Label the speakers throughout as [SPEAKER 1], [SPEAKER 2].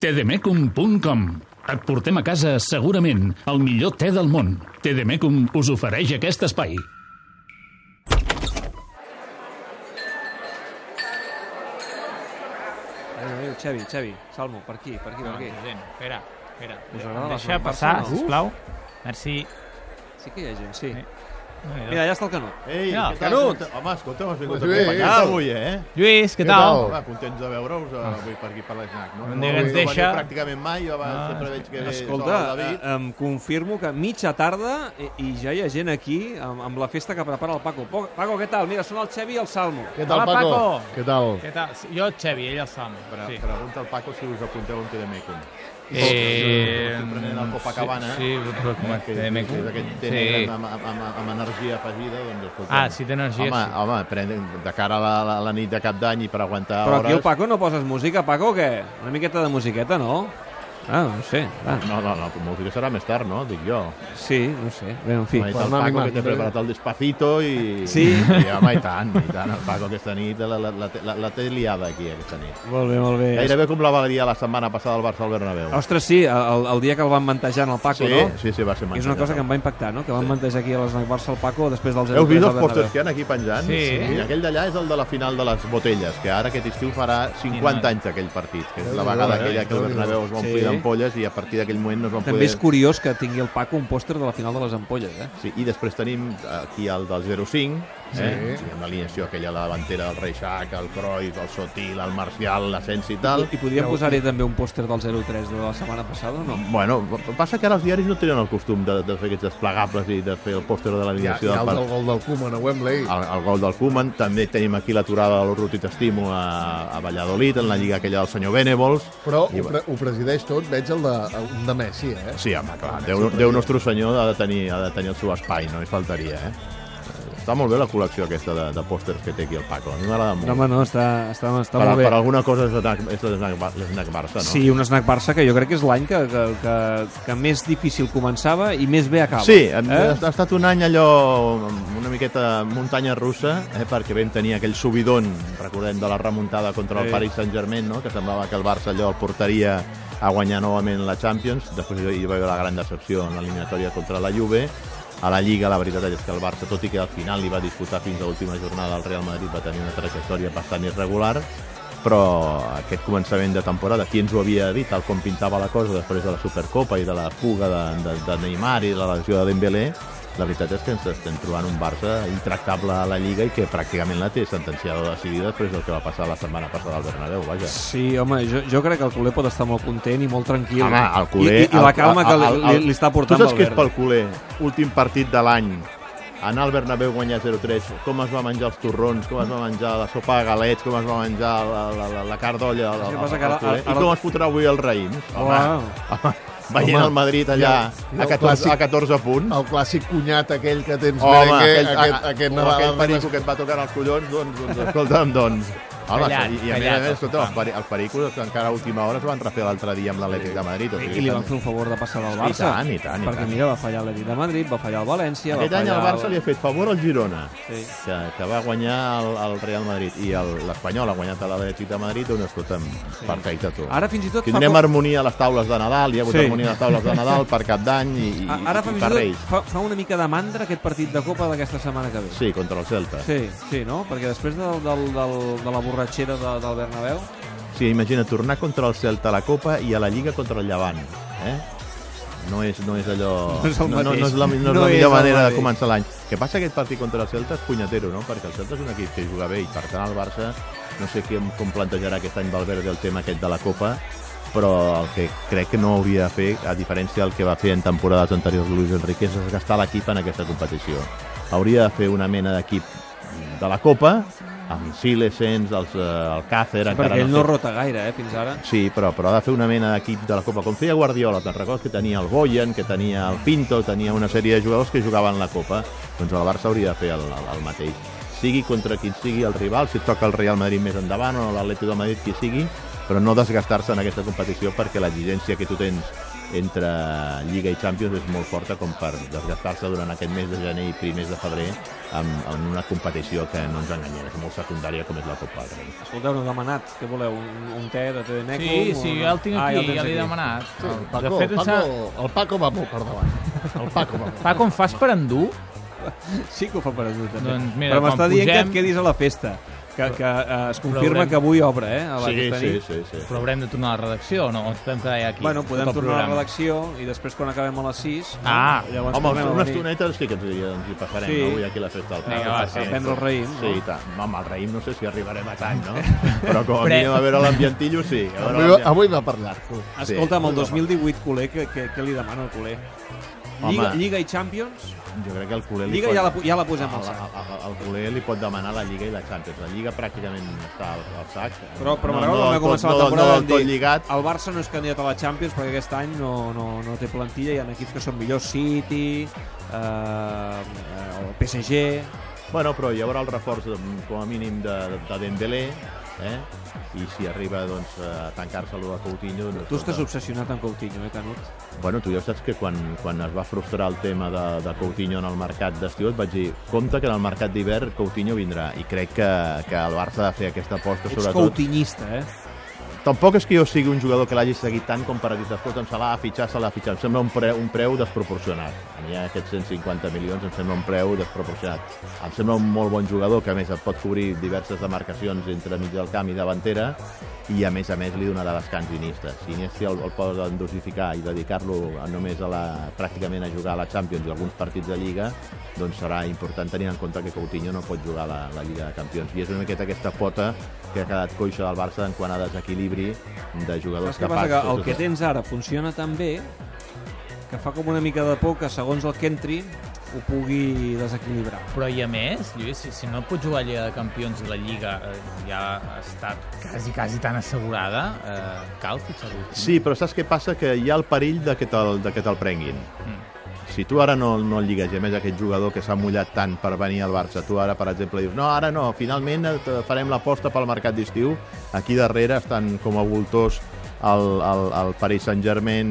[SPEAKER 1] E tdmecum.com Et portem a casa segurament el millor te del món. Tdmecum us ofereix aquest espai.
[SPEAKER 2] Adéu, adéu, Xevi, Xevi, Salmo, per aquí, per aquí, per
[SPEAKER 3] No,
[SPEAKER 2] aquí.
[SPEAKER 3] gent, espera, espera.
[SPEAKER 2] Us agrada
[SPEAKER 3] Deixa
[SPEAKER 2] la zona
[SPEAKER 3] passar,
[SPEAKER 2] Barça, no?
[SPEAKER 3] sisplau. Merci.
[SPEAKER 2] Sí que hi ha gent, sí.
[SPEAKER 3] Eh.
[SPEAKER 2] Mira, allà està el Canut.
[SPEAKER 4] Ei,
[SPEAKER 3] Ja,
[SPEAKER 4] què tal?
[SPEAKER 3] Canut!
[SPEAKER 4] Home, escolta, m'has vingut
[SPEAKER 5] Doncs bé,
[SPEAKER 4] acompanyat
[SPEAKER 5] què tal?
[SPEAKER 4] avui, eh?
[SPEAKER 3] Lluís, què
[SPEAKER 5] Què
[SPEAKER 3] tal?
[SPEAKER 5] tal?
[SPEAKER 4] Home, contents de veure-us eh, avui per aquí per l'Snac, no?
[SPEAKER 3] Un
[SPEAKER 4] No
[SPEAKER 3] dia que
[SPEAKER 4] veniu-
[SPEAKER 3] ens deixa-
[SPEAKER 4] veniu pràcticament mai, jo abans
[SPEAKER 3] Ah,
[SPEAKER 4] sempre veig que ve
[SPEAKER 2] Escolta,
[SPEAKER 4] sol el David.
[SPEAKER 2] eh, em confirmo que mitja tarda i, i ja hi ha gent aquí amb, amb la festa que prepara el Paco. Po- Paco, què tal? Mira, són el Xevi i el Salmo.
[SPEAKER 5] Què tal,
[SPEAKER 3] Hola,
[SPEAKER 5] Paco?
[SPEAKER 3] Paco.
[SPEAKER 5] Què tal?
[SPEAKER 3] Què tal? Jo, Xevi, ell el Sam.
[SPEAKER 4] Pre
[SPEAKER 3] Sí.
[SPEAKER 4] Pregunta al Paco si us apunteu a un TDMECO.
[SPEAKER 3] Eh,
[SPEAKER 4] Estic prenent el Copacabana,
[SPEAKER 3] sí, sí, però com a
[SPEAKER 4] Que,
[SPEAKER 3] TDMEC.
[SPEAKER 4] que és aquest té
[SPEAKER 3] Sí.
[SPEAKER 4] amb, amb, amb, amb energia afegida, doncs escolta.
[SPEAKER 3] Ah, sí, té energia,
[SPEAKER 4] Home,
[SPEAKER 3] sí.
[SPEAKER 4] home pren, de cara a la, la, la nit de cap d'any i per aguantar
[SPEAKER 2] Però
[SPEAKER 4] hores...
[SPEAKER 2] aquí el Paco no poses música, Paco, o què? Una miqueta de musiqueta, no? Ah, no sé. Ah,
[SPEAKER 4] No, no, no, música serà més tard, no? Dic jo.
[SPEAKER 2] sí, no sé. Bé, en fi.
[SPEAKER 4] Home, i
[SPEAKER 5] per
[SPEAKER 4] tal,
[SPEAKER 5] anar
[SPEAKER 4] Paco,
[SPEAKER 5] animant,
[SPEAKER 4] que t'he
[SPEAKER 5] bé, bé.
[SPEAKER 4] preparat el despacito i...
[SPEAKER 2] Sí.
[SPEAKER 4] I, home, i tant, i tant. El Paco aquesta nit la, la, la, té- la, la té liada aquí, aquesta nit.
[SPEAKER 2] Molt bé, molt bé.
[SPEAKER 4] Gairebé com la valeria la setmana passada al Barça al Bernabéu.
[SPEAKER 2] Ostres, sí, el, el dia que el van mantejar en el Paco,
[SPEAKER 4] sí,
[SPEAKER 2] no?
[SPEAKER 4] sí, sí, va ser
[SPEAKER 2] És una cosa que em
[SPEAKER 4] meravellós.
[SPEAKER 2] va impactar, no? Que van mantejar aquí a l'Snac Barça el Paco després dels 0-3
[SPEAKER 4] Heu vist
[SPEAKER 2] del
[SPEAKER 4] els
[SPEAKER 2] Bernabéu.
[SPEAKER 4] pòsters que hi ha aquí penjant?
[SPEAKER 3] Sí.
[SPEAKER 4] I aquell d'allà és el de la final de les botelles, que ara aquest estiu farà 50 anys aquell partit, que és la vegada aquella que el Bernabéu es va omplir
[SPEAKER 2] Sí.
[SPEAKER 4] d'ampolles i a partir d'aquell moment no es van
[SPEAKER 2] També és
[SPEAKER 4] poder...
[SPEAKER 2] curiós que tingui el Paco un pòster de la final de les ampolles, eh?
[SPEAKER 4] Sí, I després tenim aquí el del 05, eh? sí. amb l'alineació aquella de davantera del Reixac, el Croix, el Sotil, el Marcial, l'Asensi i tal.
[SPEAKER 2] I podríem posar-hi també un pòster del 03 de la setmana passada o no?
[SPEAKER 4] Bueno, passa que ara els diaris no tenen el costum de, de fer aquests desplegables i de fer el pòster de
[SPEAKER 5] Hi ha, hi
[SPEAKER 4] l'alineació
[SPEAKER 5] ha el
[SPEAKER 4] del Ah,
[SPEAKER 5] del
[SPEAKER 4] partit.
[SPEAKER 5] gol del Koeman a Wembley.
[SPEAKER 4] El, el, gol del Koeman, també tenim aquí l'aturada de l'Urruti Testimo a, a Valladolid, en la lliga aquella del senyor Bénévols.
[SPEAKER 5] Però
[SPEAKER 4] I-
[SPEAKER 5] ho, pre ho presideix tot, veig el de, un de Messi, eh?
[SPEAKER 4] Sí, home, clar, Déu, Déu nostre senyor ha de, tenir, ha de tenir el seu espai, no hi faltaria, eh? Està molt bé la col·lecció aquesta de, de pòsters que té aquí el Paco, a mi m'agrada molt.
[SPEAKER 2] No, home, no, està, està, està
[SPEAKER 4] per,
[SPEAKER 2] molt bé.
[SPEAKER 4] per alguna cosa és l'esnac- és l'esnac l'esnac Barça, no?
[SPEAKER 2] Sí, un snack Barça que jo crec que és l'any que, que, que, que més difícil començava i més bé acaba.
[SPEAKER 4] Sí, hem-
[SPEAKER 2] eh?
[SPEAKER 4] ha estat un any allò amb una miqueta muntanya russa, eh, perquè vam tenir aquell subidon, recordem, de la remuntada contra el
[SPEAKER 2] Sí.
[SPEAKER 4] Paris Saint-Germain, no? que semblava que el Barça allò el portaria a guanyar novament la Champions, després hi va haver la gran decepció en l'eliminatòria contra la Juve, a la Lliga la veritat és que el Barça, tot i que al final li va disputar fins a l'última jornada al Real Madrid, va tenir una trajectòria bastant irregular, però aquest començament de temporada, qui ens ho havia dit, tal com pintava la cosa després de la Supercopa i de la fuga de, de, de Neymar i de la lesió de Dembélé, la veritat és que ens estem trobant un Barça intractable a la Lliga i que pràcticament la té sentenciada o decidida després del que va passar la setmana passada al Bernabéu, vaja.
[SPEAKER 2] Sí, home, jo, jo crec que el culer pot estar molt content i molt tranquil.
[SPEAKER 4] Home, el culer...
[SPEAKER 2] I, i, i la
[SPEAKER 4] el-
[SPEAKER 2] calma que
[SPEAKER 4] el-
[SPEAKER 2] li,
[SPEAKER 4] el-
[SPEAKER 2] li, li està portant
[SPEAKER 4] Tu saps què és
[SPEAKER 2] Valverde.
[SPEAKER 4] pel culer? Últim partit de l'any. Anar al Bernabéu guanyar 0-3, com es va menjar els torrons, com es va menjar la sopa de galets, com es va menjar la, la, la, la cardolla, la,
[SPEAKER 2] que
[SPEAKER 4] la,
[SPEAKER 2] passa que
[SPEAKER 4] el
[SPEAKER 2] ara-
[SPEAKER 4] culer.
[SPEAKER 2] ara-
[SPEAKER 4] I com es fotrà avui el raïm? Home,
[SPEAKER 2] Uau.
[SPEAKER 4] home, veient
[SPEAKER 5] Home,
[SPEAKER 4] el Madrid allà
[SPEAKER 5] i el
[SPEAKER 4] a, 14,
[SPEAKER 5] clàssic-
[SPEAKER 4] a 14 punts.
[SPEAKER 5] El clàssic cunyat aquell que tens
[SPEAKER 4] Home,
[SPEAKER 5] merengue,
[SPEAKER 4] aquell,
[SPEAKER 5] aquest,
[SPEAKER 4] a,
[SPEAKER 5] aquest,
[SPEAKER 4] o aquell
[SPEAKER 5] Nadal-
[SPEAKER 4] perico que et va tocar els collons, doncs, doncs escolta'm, doncs... Home,
[SPEAKER 3] Callat,
[SPEAKER 4] i, i a més a
[SPEAKER 3] callat,
[SPEAKER 4] més, escolta, els,
[SPEAKER 3] tothom.
[SPEAKER 4] peri, els pericos que encara a última hora es van refer l'altre dia amb l'Atlètic de Madrid. O sigui,
[SPEAKER 2] I li van
[SPEAKER 4] també-
[SPEAKER 2] fer un favor de passar del
[SPEAKER 4] I
[SPEAKER 2] Barça.
[SPEAKER 4] tant, i tant, i
[SPEAKER 2] Perquè
[SPEAKER 4] tant.
[SPEAKER 2] mira, va fallar l'Edit de Madrid, va fallar el València,
[SPEAKER 4] Aquest
[SPEAKER 2] va
[SPEAKER 4] any
[SPEAKER 2] fallar...
[SPEAKER 4] el Barça li ha fet favor al Girona,
[SPEAKER 2] Sí.
[SPEAKER 4] que, que va guanyar el, el Real Madrid. I el- l'Espanyol ha guanyat a l'Atlètic de Madrid, doncs escolta'm, sí. perfecte tu.
[SPEAKER 2] Ara fins i tot
[SPEAKER 4] Tindrem
[SPEAKER 2] fa...
[SPEAKER 4] harmonia a les taules de Nadal, hi ha hagut
[SPEAKER 2] Sí.
[SPEAKER 4] sí. harmonia a les taules de Nadal per Cap d'Any i, i,
[SPEAKER 2] a- Ara fa,
[SPEAKER 4] i
[SPEAKER 2] fins
[SPEAKER 4] per
[SPEAKER 2] i tot
[SPEAKER 4] Reis.
[SPEAKER 2] fa, fa una mica de mandra aquest partit de Copa d'aquesta setmana que ve.
[SPEAKER 4] Sí, contra el Celta. Sí,
[SPEAKER 2] Sí, sí, no? Perquè després del, del, del, de la borratxera de, del Bernabéu...
[SPEAKER 4] sí imagina, tornar contra el Celta a la Copa i a la Lliga contra el Llevant. Eh? No és, no és allò...
[SPEAKER 2] No és el
[SPEAKER 4] no, no, no és la, no és
[SPEAKER 2] No
[SPEAKER 4] la
[SPEAKER 2] és
[SPEAKER 4] millor
[SPEAKER 2] el
[SPEAKER 4] manera de
[SPEAKER 2] mateix.
[SPEAKER 4] començar l'any. Que passa que aquest partit contra el Celta és punyatero, no? Perquè el Celta és un equip que juga bé i, per tant, el Barça no sé com, com plantejarà aquest any Valverde el tema aquest de la Copa, però el que crec que no hauria de fer, a diferència del que va fer en temporades anteriors Luis Enrique, és gastar l'equip en aquesta competició. Hauria de fer una mena d'equip de la Copa, amb Silesens, els, eh, el Càcer... encara
[SPEAKER 2] perquè ell no
[SPEAKER 4] sé-
[SPEAKER 2] rota gaire, eh, fins ara.
[SPEAKER 4] Sí, però, però ha de fer una mena d'equip de la Copa, com feia Guardiola, te'n recordes que tenia el Boyan, que tenia el Pinto, tenia una sèrie de jugadors que jugaven la Copa, doncs el Barça hauria de fer el, el, el mateix. Sigui contra qui sigui el rival, si et toca el Real Madrid més endavant o l'Atlètic de Madrid, qui sigui, però no desgastar-se en aquesta competició perquè l'exigència que tu tens entre Lliga i Champions és molt forta com per desgastar-se durant aquest mes de gener i primers de febrer en, en una competició que no ens enganyem, és molt secundària com és la Copa del Rei.
[SPEAKER 2] Escolteu, no he demanat, què voleu? Un, un té de té de neco?
[SPEAKER 3] Sí,
[SPEAKER 2] Un-
[SPEAKER 3] sí, jo el tinc
[SPEAKER 2] Ah,
[SPEAKER 3] aquí,
[SPEAKER 2] tens
[SPEAKER 3] ja l'he
[SPEAKER 2] aquí.
[SPEAKER 3] demanat.
[SPEAKER 5] El Paco,
[SPEAKER 3] de fet,
[SPEAKER 5] el,
[SPEAKER 3] em sap-
[SPEAKER 5] Paco, el Paco va molt per davant. El Paco va molt.
[SPEAKER 3] Paco, em fas per endur?
[SPEAKER 2] Sí que ho fa per ajut, també.
[SPEAKER 3] Doncs mira,
[SPEAKER 2] Però m'està
[SPEAKER 3] quan
[SPEAKER 2] dient que
[SPEAKER 3] pugem-
[SPEAKER 2] et quedis a la festa, que, que eh, es confirma
[SPEAKER 3] Veurem.
[SPEAKER 2] que avui obre, eh? A la
[SPEAKER 4] Sí,
[SPEAKER 2] aquesta
[SPEAKER 4] sí,
[SPEAKER 2] nit.
[SPEAKER 4] sí, sí.
[SPEAKER 3] Però haurem de tornar a la redacció o no? O ens podem quedar ja aquí?
[SPEAKER 2] Bueno, podem
[SPEAKER 3] tot el
[SPEAKER 2] tornar a la
[SPEAKER 3] programa?
[SPEAKER 2] redacció i després quan acabem a les 6... no?
[SPEAKER 3] Ah,
[SPEAKER 2] Llavors
[SPEAKER 4] Home,
[SPEAKER 2] tornem a
[SPEAKER 4] una
[SPEAKER 2] venir.
[SPEAKER 4] estoneta sí que ens hi, ens hi passarem,
[SPEAKER 2] Sí.
[SPEAKER 4] sí. avui aquí a la festa del
[SPEAKER 3] Vinga, va, sí.
[SPEAKER 2] A prendre el raïm, no?
[SPEAKER 4] Sí, i tant. Home, el raïm no sé si arribarem a tant, no? Però com a
[SPEAKER 3] Pre-
[SPEAKER 4] mínim a veure l'ambientillo, sí. A veure
[SPEAKER 5] Avui,
[SPEAKER 4] l'ambient-
[SPEAKER 5] avui va per llarg.
[SPEAKER 2] Escolta'm, el 2018, culer, què, què, què li demano al culer?
[SPEAKER 4] Home.
[SPEAKER 2] Lliga, Lliga i Champions?
[SPEAKER 4] Jo crec que el culer li
[SPEAKER 2] Lliga
[SPEAKER 4] pot... Ah,
[SPEAKER 2] ja la, pu- ja la posem al
[SPEAKER 4] El,
[SPEAKER 2] sac.
[SPEAKER 4] el, el culer li pot demanar la Lliga i la Champions. La Lliga pràcticament està al, al sac.
[SPEAKER 2] Però, però
[SPEAKER 4] no,
[SPEAKER 2] m'agrada no, no,
[SPEAKER 4] del tot-
[SPEAKER 2] començar
[SPEAKER 4] no,
[SPEAKER 2] la temporada
[SPEAKER 4] no,
[SPEAKER 2] vam
[SPEAKER 4] del tot
[SPEAKER 2] dir,
[SPEAKER 4] lligat.
[SPEAKER 2] el Barça no és candidat a la Champions perquè aquest any no, no, no té plantilla, hi ha equips que són millors, City, eh, eh, el PSG...
[SPEAKER 4] Bueno, però hi haurà el reforç mm, com a mínim de, de Dembélé, eh? i si arriba doncs, a tancar-se allò de Coutinho... No
[SPEAKER 2] Tu estàs
[SPEAKER 4] escolta.
[SPEAKER 2] obsessionat amb Coutinho, eh, Canut?
[SPEAKER 4] Bueno, tu ja saps que quan, quan es va frustrar el tema de, de Coutinho en el mercat d'estiu et vaig dir, compte que en el mercat d'hivern Coutinho vindrà i crec que, que el Barça ha de fer aquesta aposta
[SPEAKER 2] Ets
[SPEAKER 4] sobretot.
[SPEAKER 2] Coutinhista, eh?
[SPEAKER 4] Tampoc és que jo sigui un jugador que l'hagi seguit tant com per dir, escolta, em se l'ha de fitxar, se l'ha de fitxar. Em sembla un preu, un preu desproporcionat. A mi aquests 150 milions em sembla un preu desproporcionat. Em sembla un molt bon jugador que a més et pot cobrir diverses demarcacions entre mig del camp i davantera i a més a més li donarà descans Iniesta. Si Iniesta el, el poden dosificar i dedicar-lo a- només a la, pràcticament a jugar a la Champions i alguns partits de Lliga, doncs serà important tenir en compte que Coutinho no pot jugar a la, la Lliga de Campions. I és una miqueta aquesta pota que ha quedat coixa del Barça en quant a desequilibri de jugadors
[SPEAKER 2] Saps què passa? Que el
[SPEAKER 4] capaços-
[SPEAKER 2] que tens ara funciona tan bé que fa com una mica de por que segons el que entri ho pugui desequilibrar.
[SPEAKER 3] Però i a més, Lluís, si, si no pots jugar a Lliga de Campions i la Lliga eh, ja està quasi, quasi tan assegurada, eh, cal fitxar-ho.
[SPEAKER 4] Sí, però saps què passa? Que hi ha el perill de que te'l te te prenguin.
[SPEAKER 5] Mm.
[SPEAKER 4] Si tu ara no, no el lligues, i a més aquest jugador que s'ha mullat tant per venir al Barça, tu ara, per exemple, dius, no, ara no, finalment et- farem l'aposta pel mercat d'estiu, aquí darrere estan com a voltors el, el, el Paris Saint-Germain,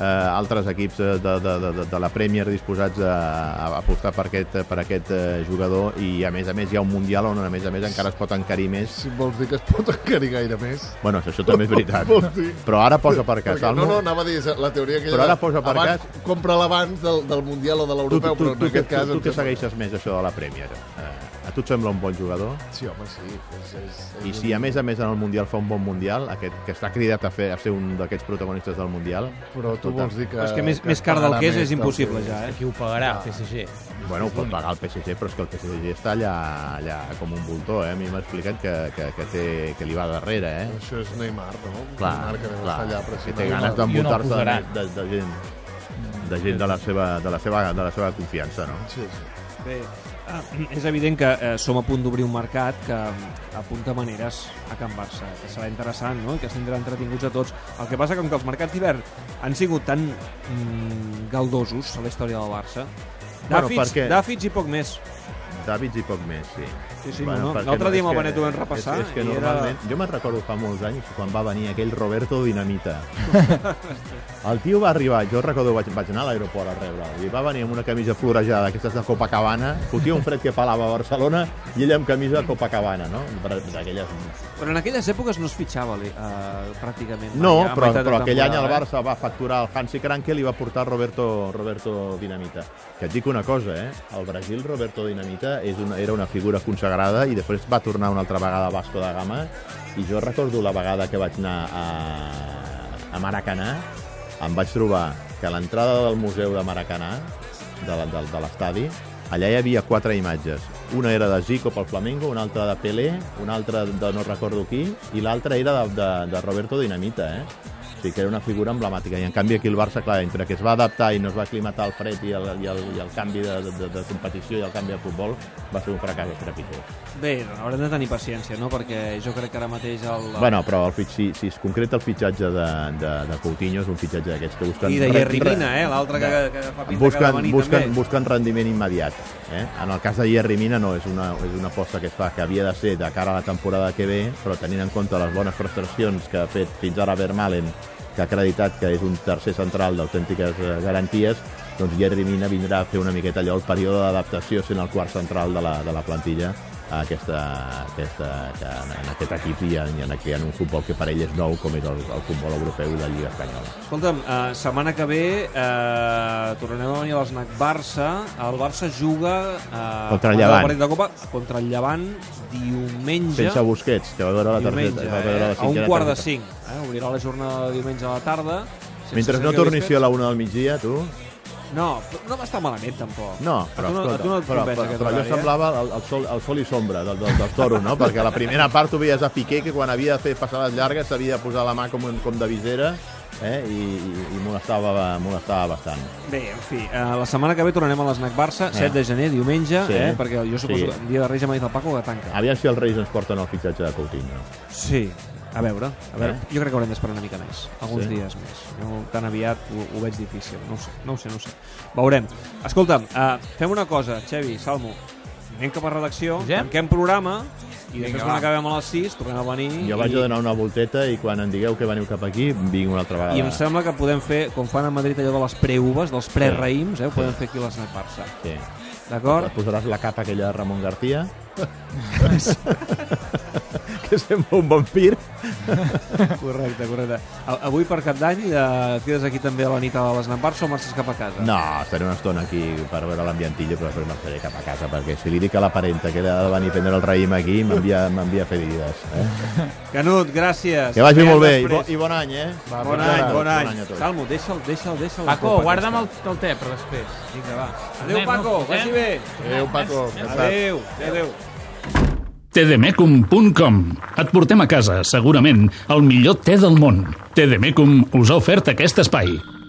[SPEAKER 4] eh, altres equips eh, de, de, de, de- de la Premier disposats a, a apostar per aquest, per aquest eh, jugador i a més a més hi ha un Mundial on a més a més encara es pot encarir més
[SPEAKER 5] Si vols dir que es pot encarir gaire més.
[SPEAKER 4] Bueno, això també és veritat.
[SPEAKER 5] Vols dir?
[SPEAKER 4] Però ara posa per cas.
[SPEAKER 5] Oh, Perquè,
[SPEAKER 4] Salmo.
[SPEAKER 5] no, no, anava a dir esa- la teoria que
[SPEAKER 4] Però ara posa per
[SPEAKER 5] abans,
[SPEAKER 4] cas-
[SPEAKER 5] compra l'abans del, del Mundial o de
[SPEAKER 4] tu, tu,
[SPEAKER 5] l'Europeu,
[SPEAKER 4] tu,
[SPEAKER 5] però en
[SPEAKER 4] tu, que-
[SPEAKER 5] aquest
[SPEAKER 4] tu,
[SPEAKER 5] cas...
[SPEAKER 4] tu
[SPEAKER 5] em
[SPEAKER 4] que
[SPEAKER 5] sembla-
[SPEAKER 4] segueixes més això de la Premier, eh, a tu et sembla un bon jugador?
[SPEAKER 5] Sí, home, sí. És, és, és
[SPEAKER 4] I si a més a més en el Mundial fa un bon Mundial, aquest que està cridat a, fer, a ser un d'aquests protagonistes del Mundial,
[SPEAKER 5] Però tu vols dir que...
[SPEAKER 2] Però és que més, més car del
[SPEAKER 5] pagarà
[SPEAKER 2] que és
[SPEAKER 5] més
[SPEAKER 2] és
[SPEAKER 5] del
[SPEAKER 2] impossible
[SPEAKER 5] que-
[SPEAKER 2] ja, eh?
[SPEAKER 3] Qui ho pagarà? PSG.
[SPEAKER 4] bueno, ho pot pagar el PSG, però és que el PSG està allà, allà com un voltor, eh? A mi m'ha explicat que, que, que, té, que li va darrere, eh?
[SPEAKER 5] Això és Neymar, no?
[SPEAKER 4] Clar,
[SPEAKER 5] Neymar que deu
[SPEAKER 4] clar,
[SPEAKER 5] estar allà
[SPEAKER 4] que
[SPEAKER 5] pressionant.
[SPEAKER 4] té ganes
[SPEAKER 3] I on el
[SPEAKER 4] d'embotar-se de,
[SPEAKER 3] posaran?
[SPEAKER 4] de, de, gent de gent de la seva, de la seva, de la seva confiança, no?
[SPEAKER 5] Sí, sí.
[SPEAKER 2] Bé, ah, és evident que eh, som a punt d'obrir un mercat que mm, apunta maneres a Can Barça, que serà interessant, no? I que tindrà entretinguts a tots. El que passa com que els mercats d'hivern han sigut tan mm, galdosos a la història del Barça,
[SPEAKER 4] Bueno,
[SPEAKER 2] Dàfits,
[SPEAKER 4] perquè-
[SPEAKER 2] dàfits i poc més.
[SPEAKER 4] Davids i poc més, sí.
[SPEAKER 2] Sí, sí, no, no.
[SPEAKER 4] perquè
[SPEAKER 2] L'altre dia
[SPEAKER 4] és
[SPEAKER 2] amb el
[SPEAKER 4] que-
[SPEAKER 2] Benet ho vam repassar
[SPEAKER 4] És, és
[SPEAKER 2] i
[SPEAKER 4] que
[SPEAKER 2] era-
[SPEAKER 4] normalment... Jo me'n recordo fa molts anys quan va venir aquell Roberto Dinamita. el tio va arribar, jo recordo, vaig, vaig anar a l'aeroport a rebre'l, i va venir amb una camisa florejada, aquestes de Copacabana, fotia un fred que pelava a Barcelona, i ell amb camisa de Copacabana, no? D'aquelles...
[SPEAKER 2] Però en aquelles èpoques no es fitxava eh, pràcticament. mai,
[SPEAKER 4] No,
[SPEAKER 2] a
[SPEAKER 4] però,
[SPEAKER 2] meitat de
[SPEAKER 4] però aquell any el
[SPEAKER 2] temporada, eh?
[SPEAKER 4] Barça va facturar el Hansi Krankel i va portar Roberto, Roberto Dinamita. Que et dic una cosa, eh? Al Brasil, Roberto Dinamita és una, era una figura consagrada i després va tornar una altra vegada a Vasco da Gama i jo recordo la vegada que vaig anar a, a Maracanà em vaig trobar que a l'entrada del museu de Maracanà de, la- de, de l'estadi allà hi havia quatre imatges una era de Zico pel Flamengo, una altra de Pelé una altra de no recordo qui i l'altra era de, de, de Roberto Dinamita eh? O sigui, que era una figura emblemàtica. I en canvi aquí el Barça, clar, entre que es va adaptar i no es va aclimatar al fred i el, i el, i el canvi de, de, de competició i el canvi de futbol, va ser un fracàs estrepitós.
[SPEAKER 2] Bé, haurem de tenir paciència, no? Perquè jo crec que ara mateix el...
[SPEAKER 4] Bueno, però el, fit- si, si es concreta el fitxatge de, de, de Coutinho, és un fitxatge d'aquests que busquen...
[SPEAKER 2] I de
[SPEAKER 4] re-
[SPEAKER 2] Jerry
[SPEAKER 4] re-
[SPEAKER 2] Mina, eh? L'altre que, que fa pinta que ha de
[SPEAKER 4] doncs busquen,
[SPEAKER 2] venir
[SPEAKER 4] busquen,
[SPEAKER 2] també.
[SPEAKER 4] busquen rendiment immediat. Eh? En el cas de Jerry Mina no, és una, és una aposta que es fa que havia de ser de cara a la temporada que ve, però tenint en compte les bones prestacions que ha fet fins ara Vermalen, que ha acreditat que és un tercer central d'autèntiques eh, garanties, doncs Jerry Mina vindrà a fer una miqueta allò el període d'adaptació sent el quart central de la, de la plantilla a aquesta, a aquesta, que en, en aquest equip i en, i en, en un futbol que per ell és nou com és el, el futbol europeu i la Lliga Espanyola.
[SPEAKER 2] Escolta'm, eh, setmana que ve eh, tornarem a venir a l'Snac Barça. El Barça juga eh,
[SPEAKER 4] Contra el
[SPEAKER 2] ara
[SPEAKER 4] Llevant.
[SPEAKER 2] partit de Copa, contra el Llevant diumenge.
[SPEAKER 4] Sense Busquets, que va veure la
[SPEAKER 2] diumenge,
[SPEAKER 4] targeta. va veure
[SPEAKER 2] eh,
[SPEAKER 4] la
[SPEAKER 2] a un
[SPEAKER 4] cinquena
[SPEAKER 2] quart de
[SPEAKER 4] targeta.
[SPEAKER 2] cinc. Eh? Obrirà la jornada de diumenge a la tarda. sense
[SPEAKER 4] Mentre no
[SPEAKER 2] Sergio
[SPEAKER 4] tornis
[SPEAKER 2] Busquets.
[SPEAKER 4] a la una del migdia, tu...
[SPEAKER 2] No, però no va estar malament, tampoc.
[SPEAKER 4] No, però,
[SPEAKER 2] a tu no,
[SPEAKER 4] escolta,
[SPEAKER 2] a tu no et
[SPEAKER 4] però,
[SPEAKER 2] convenç
[SPEAKER 4] però,
[SPEAKER 2] aquest
[SPEAKER 4] però
[SPEAKER 2] horari,
[SPEAKER 4] allò
[SPEAKER 2] eh?
[SPEAKER 4] semblava el, el, sol, el sol i sombra del, del, dels toros, no? Perquè la primera part tu veies a Piqué, que quan havia de fer passades llargues s'havia de posar la mà com, com de visera eh? I, i, i molestava, molestava bastant.
[SPEAKER 2] Bé, en fi, eh, la setmana que ve tornarem a l'Snac Barça,
[SPEAKER 4] Ah.
[SPEAKER 2] 7 de gener, diumenge,
[SPEAKER 4] Sí.
[SPEAKER 2] eh, perquè jo suposo
[SPEAKER 4] Sí. Ah.
[SPEAKER 2] que el dia de Reis ja m'ha dit el Paco que tanca.
[SPEAKER 4] Aviam si els Reis ens porten el fitxatge de Coutinho.
[SPEAKER 2] Sí, a veure, a veure.
[SPEAKER 4] Eh?
[SPEAKER 2] Jo crec que haurem d'esperar una mica més, alguns
[SPEAKER 4] Sí.
[SPEAKER 2] dies més. Jo tan aviat ho, ho veig difícil, no ho sé, no ho sé, no ho sé. Veurem. Escolta'm, eh, fem una cosa, Xevi, Salmo, anem cap a redacció,
[SPEAKER 3] Ja?
[SPEAKER 2] tanquem programa, i després
[SPEAKER 3] Vinga,
[SPEAKER 2] quan
[SPEAKER 3] va.
[SPEAKER 2] acabem a les 6 tornem a venir
[SPEAKER 4] Jo
[SPEAKER 2] i,
[SPEAKER 4] vaig a donar una volteta i quan em digueu que veniu cap aquí, vinc una altra vegada.
[SPEAKER 2] i em sembla que podem fer, com fan a Madrid allò de les preuves, dels prereïms, eh, ho podem fer aquí a l'Snac Barça.
[SPEAKER 4] Sí. Et
[SPEAKER 2] D'acord?
[SPEAKER 4] posaràs la capa aquella de Ramon García que sembla un vampir
[SPEAKER 2] Correcte, correcte. A- Avui per Cap d'Any eh, et quedes aquí també a la nit a l'Snac Barça o marxes cap a casa?
[SPEAKER 4] No, estaré una estona aquí per veure l'ambientillo, però després marxaré cap a casa, perquè si li dic a la parenta que he de venir a prendre el raïm aquí, m'envia m'envia ferides. Eh?
[SPEAKER 2] Canut, gràcies.
[SPEAKER 4] Que vagi
[SPEAKER 2] Veiem
[SPEAKER 4] molt bé i, bo,
[SPEAKER 2] després.
[SPEAKER 4] i bon any, eh?
[SPEAKER 2] Bon, any, bon, any.
[SPEAKER 4] a tots.
[SPEAKER 2] Salmo, deixa'l, deixa'l, deixa'l. la
[SPEAKER 3] Paco,
[SPEAKER 2] copa
[SPEAKER 3] guarda'm el,
[SPEAKER 2] aquesta.
[SPEAKER 3] el te per després. Vinga, va. Eh?
[SPEAKER 2] Adéu, Paco, vagi bé.
[SPEAKER 5] Adéu, Paco. Adéu.
[SPEAKER 2] Adéu, adéu.
[SPEAKER 1] E tdmecum.com Et E portem a casa, segurament, el millor te del món. Tdmecum us ha ofert aquest espai.